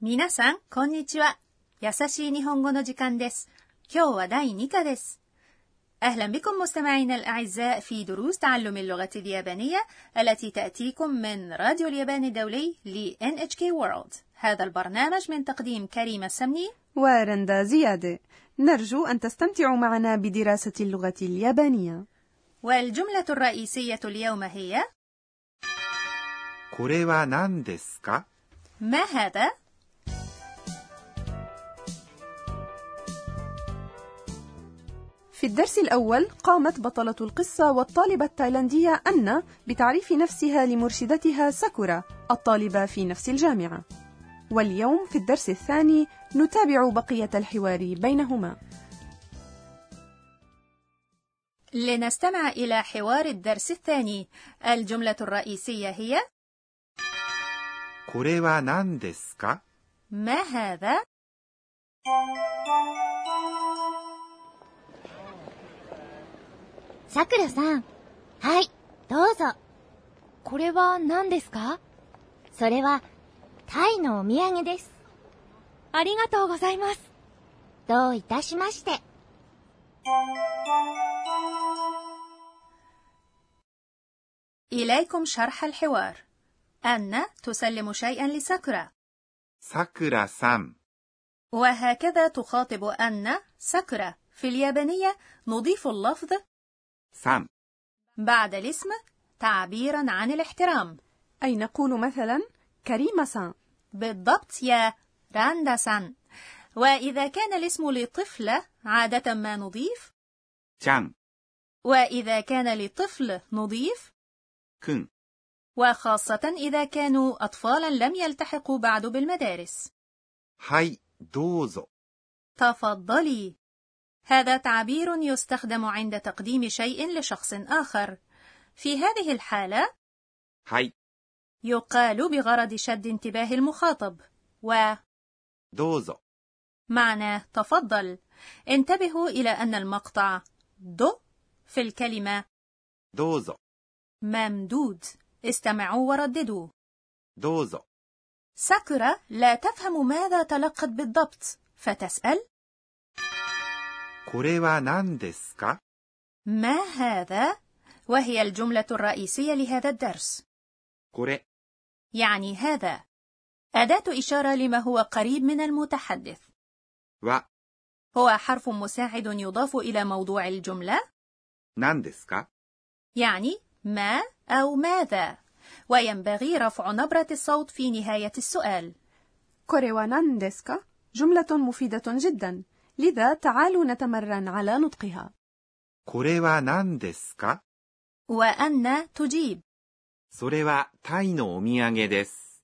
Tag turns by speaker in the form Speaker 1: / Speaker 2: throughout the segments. Speaker 1: 皆さん、こんにちは。優しい日本語の時間です。今日は第2課です。أهلا بكم مستمعينا الأعزاء في دروس تعلم اللغة اليابانية التي تأتيكم من راديو اليابان الدولي ل NHK World. هذا البرنامج من تقديم كريمة السمني
Speaker 2: ورندا زيادة نرجو أن تستمتعوا معنا بدراسة اللغة اليابانية
Speaker 1: والجملة الرئيسية اليوم هي
Speaker 3: これは何ですか
Speaker 1: ما هذا؟
Speaker 2: في الدرس الأول قامت بطلة القصة والطالبة التايلاندية أن بتعريف نفسها لمرشدتها ساكورا الطالبة في نفس الجامعة واليوم في الدرس الثاني نتابع بقية الحوار بينهما
Speaker 1: لنستمع إلى حوار الدرس الثاني. الجملة الرئيسية هي
Speaker 3: これは何ですか
Speaker 1: ما هذا؟
Speaker 4: さくらさん。はい、どうぞ。これは何ですかそれは、タイのお土産です。ありがとうございます。どういたしまして。
Speaker 1: إليكم شرح الحوار. أن تسلم شيئا لساكورا
Speaker 3: さくらさん
Speaker 1: وهكذا تخاطب أن ساكورا في اليابانية نضيف اللفظ
Speaker 3: さん
Speaker 1: بعد الاسم تعبيرا عن الاحترام
Speaker 2: أي نقول مثلا كريمة سان
Speaker 1: بالضبط يا راندا سان وإذا كان الاسم لطفلة عادة ما نضيف
Speaker 3: ちゃん
Speaker 1: وإذا كان لطفل نضيف
Speaker 3: くん
Speaker 1: وخاصة إذا كانوا أطفالا لم يلتحقوا بعد بالمدارس
Speaker 3: はいどうぞ
Speaker 1: تفضلي هذا تعبير يستخدم عند تقديم شيء لشخص آخر في هذه الحالة
Speaker 3: はい
Speaker 1: يقال بغرض شد انتباه المخاطب و
Speaker 3: どうぞ
Speaker 1: معنى تفضل انتبهوا إلى أن المقطع دو في الكلمة
Speaker 3: どうぞ
Speaker 1: ممدود استمعوا ورددوا
Speaker 3: どうぞ
Speaker 1: ساكورا لا تفهم ماذا تلقت بالضبط فتسأل
Speaker 3: これは何ですか
Speaker 1: ما هذا؟ وهي الجملة الرئيسية لهذا الدرس
Speaker 3: これ
Speaker 1: يعني هذا أداة إشارة لما هو قريب من المتحدث
Speaker 3: は
Speaker 1: هو حرف مساعد يضاف إلى موضوع الجملة
Speaker 3: 何ですか
Speaker 1: يعني ما أو ماذا وينبغي رفع نبرة الصوت في نهاية السؤال
Speaker 2: كوريوانان ديسكا جملة مفيدة جدا لذا تعالوا نتمرن على نطقها
Speaker 3: これは何ですか
Speaker 1: وأن تجيب
Speaker 3: それはタイのお土産です。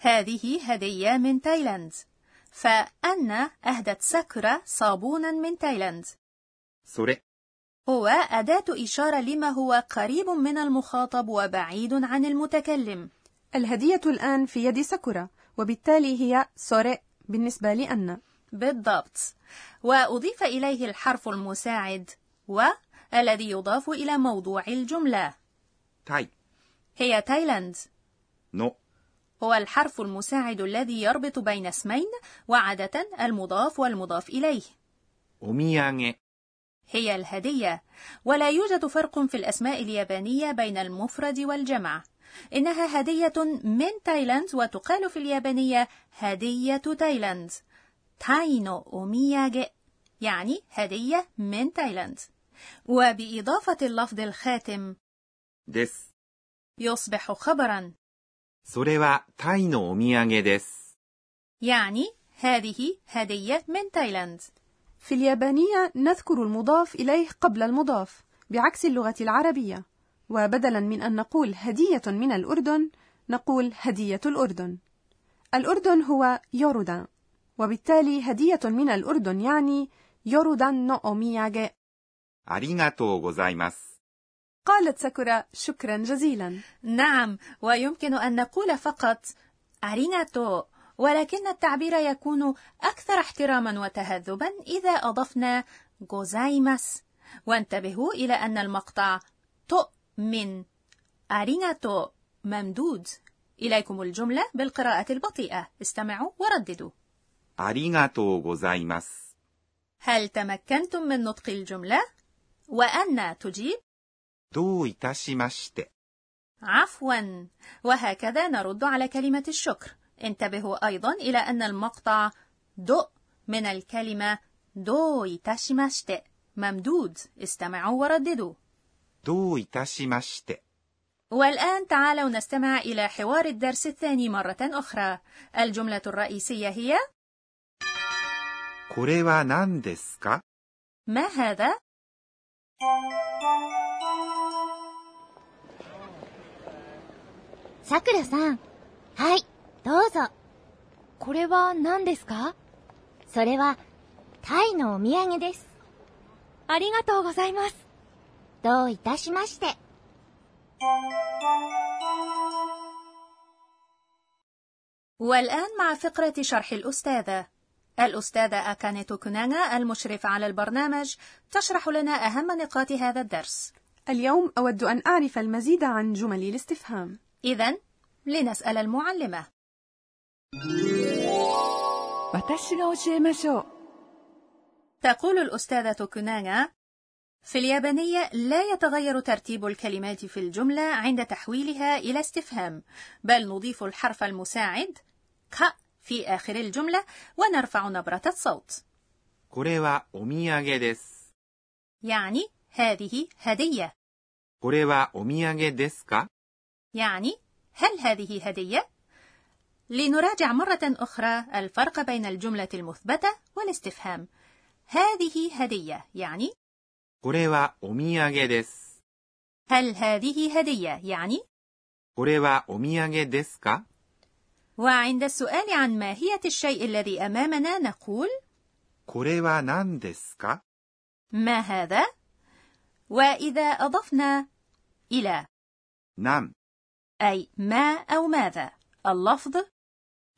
Speaker 1: هذه هدية من تايلاند فأن أهدت ساكورا صابونا من تايلاند
Speaker 3: それ
Speaker 1: هو أداة إشارة لما هو قريب من المخاطب وبعيد عن المتكلم
Speaker 2: الهدية الآن في يد ساكورا وبالتالي هي سوري بالنسبة لأن
Speaker 1: بالضبط وأضيف إليه الحرف المساعد و الذي يضاف إلى موضوع الجملة
Speaker 3: タイ
Speaker 1: هي تايلاند
Speaker 3: の
Speaker 1: هو الحرف المساعد الذي يربط بين اسمين وعادة المضاف والمضاف إليه
Speaker 3: お土産
Speaker 1: هي الهدية ولا يوجد فرق في الأسماء اليابانية بين المفرد والجمع إنها هدية من تايلاند وتقال في اليابانية هدية تايلاند تاينو أومياجي يعني هدية من تايلاند وبإضافة اللفظ الخاتم
Speaker 3: です。
Speaker 1: يصبح خبرا
Speaker 3: それはタイのお土産です。
Speaker 1: يعني هذه هدية من تايلاند
Speaker 2: في اليابانية نذكر المضاف إليه قبل المضاف بعكس اللغة العربية وبدلا من أن نقول هدية من الأردن نقول هدية الأردن الأردن هو يورودان وبالتالي هدية من الأردن يعني يورودان نو أومياجي
Speaker 3: ありがとうございます。
Speaker 2: قالت ساكورا شكرا جزيلا
Speaker 1: نعم ويمكن أن نقول فقط أريناتو ولكن التعبير يكون أكثر احتراما وتهذبا إذا أضفنا جوزايماس وانتبهوا إلى أن المقطع تو من أريناتو ممدود إليكم الجملة بالقراءة البطيئة استمعوا ورددوا
Speaker 3: ありがとうございます。
Speaker 1: هل تمكنتم من نطق الجملة؟ وأن تجيب
Speaker 3: どういたしまして。
Speaker 1: عفوا وهكذا نرد على كلمة الشكر انتبهوا أيضا إلى أن المقطع دو من الكلمة دو يتشمشت ممدود استمعوا ورددوا
Speaker 3: どういたしまして。
Speaker 1: والآن تعالوا نستمع إلى حوار الدرس الثاني مرة أخرى الجملة الرئيسية هي
Speaker 3: これは何ですか
Speaker 1: ما هذا؟
Speaker 4: さくらさん。はい、どうぞ。これは何ですかそれは、タイのお土産です。ありがとうございます。どういたしまして。
Speaker 1: والآن مع فقرة شرح الأستاذة الأستاذة أكانيتو كونانا المشرفة على البرنامج تشرح لنا أهم نقاط هذا الدرس
Speaker 2: اليوم أود أن أعرف المزيد عن جمل الاستفهام
Speaker 1: إذا لنسأل المعلمة
Speaker 5: 私が教えましょう。
Speaker 1: تقول الأستاذة كونانا في اليابانية لا يتغير ترتيب الكلمات في الجملة عند تحويلها إلى استفهام بل نضيف الحرف المساعد ك في آخر الجملة ونرفع نبرة الصوت
Speaker 3: これはお土産です。
Speaker 1: يعني هذه هدية
Speaker 3: これはお土産ですか
Speaker 1: يعني هل هذه هدية؟ لنراجع مرة أخرى الفرق بين الجملة المثبتة والاستفهام هذه هدية يعني
Speaker 3: これはお土産です。
Speaker 1: هل هذه هدية يعني
Speaker 3: これはお土産ですか
Speaker 1: وعند السؤال عن ماهية الشيء الذي أمامنا نقول
Speaker 3: これは何ですか
Speaker 1: ما هذا؟ وإذا أضفنا إلى
Speaker 3: 何
Speaker 1: أي ما أو ماذا اللفظ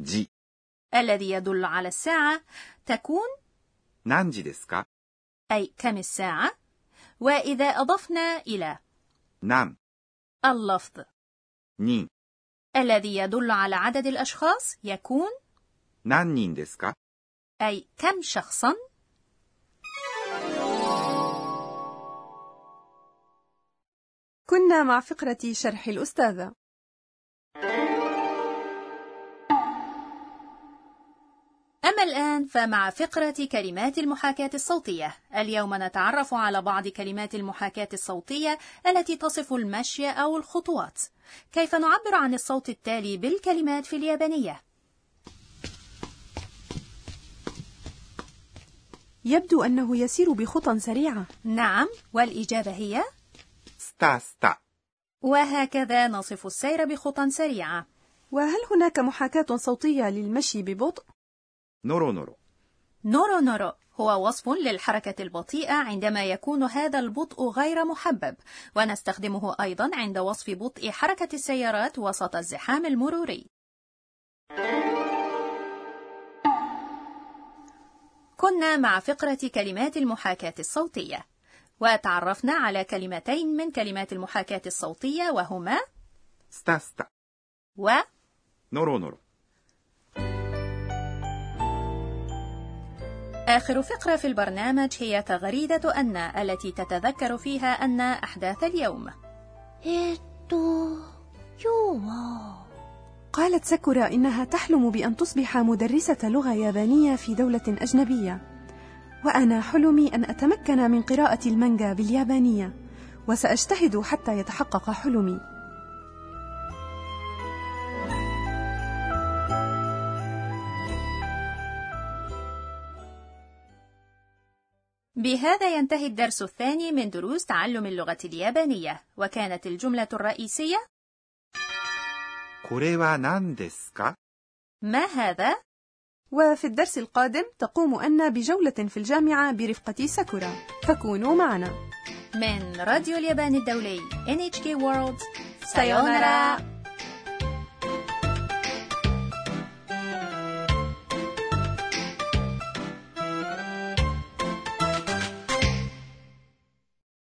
Speaker 3: 時。
Speaker 1: الذي يدل على الساعة تكون
Speaker 3: 何時ですか
Speaker 1: أي كم الساعة وإذا أضفنا إلى
Speaker 3: 何
Speaker 1: اللفظ
Speaker 3: 人。
Speaker 1: الذي يدل على عدد الأشخاص يكون
Speaker 3: 何人ですか
Speaker 1: أي كم شخصا
Speaker 2: كنا مع فقرة شرح الأستاذة
Speaker 1: أما الآن فمع فقرة كلمات المحاكاة الصوتية اليوم نتعرف على بعض كلمات المحاكاة الصوتية التي تصف المشي أو الخطوات كيف نعبر عن الصوت التالي بالكلمات في اليابانية
Speaker 2: يبدو أنه يسير بخطى سريعة
Speaker 1: نعم والإجابة هي
Speaker 3: スタスタ。
Speaker 1: وهكذا نصف السير بخطى سريعة
Speaker 2: وهل هناك محاكاة صوتية للمشي ببطء؟
Speaker 3: ノロノロ。
Speaker 1: نورو نورو هو وصف للحركة البطيئة عندما يكون هذا البطء غير محبب ونستخدمه أيضا عند وصف بطء حركة السيارات وسط الزحام المروري كنا مع فقرة كلمات المحاكاة الصوتية وتعرفنا على كلمتين من كلمات المحاكاة الصوتية وهما
Speaker 3: スタスタ。
Speaker 1: و
Speaker 3: ノロノロ。
Speaker 1: آخر فقرة في البرنامج هي تغريدة أن التي تتذكر فيها أن أحداث اليوم
Speaker 4: えーっと、今日は、
Speaker 2: قالت ساكورا إنها تحلم بأن تصبح مدرسة لغة يابانية في دولة أجنبية وأنا حلمي أن أتمكن من قراءة المانجا باليابانية وسأجتهد حتى يتحقق حلمي
Speaker 1: بهذا ينتهي الدرس الثاني من دروس تعلم اللغة اليابانية وكانت الجملة الرئيسية
Speaker 3: これは何ですか
Speaker 1: ما هذا؟
Speaker 2: وفي الدرس القادم تقوم أنا بجولة في الجامعة برفقة ساكورا فكونوا معنا
Speaker 1: من راديو اليابان الدولي NHK World
Speaker 2: سايونارا.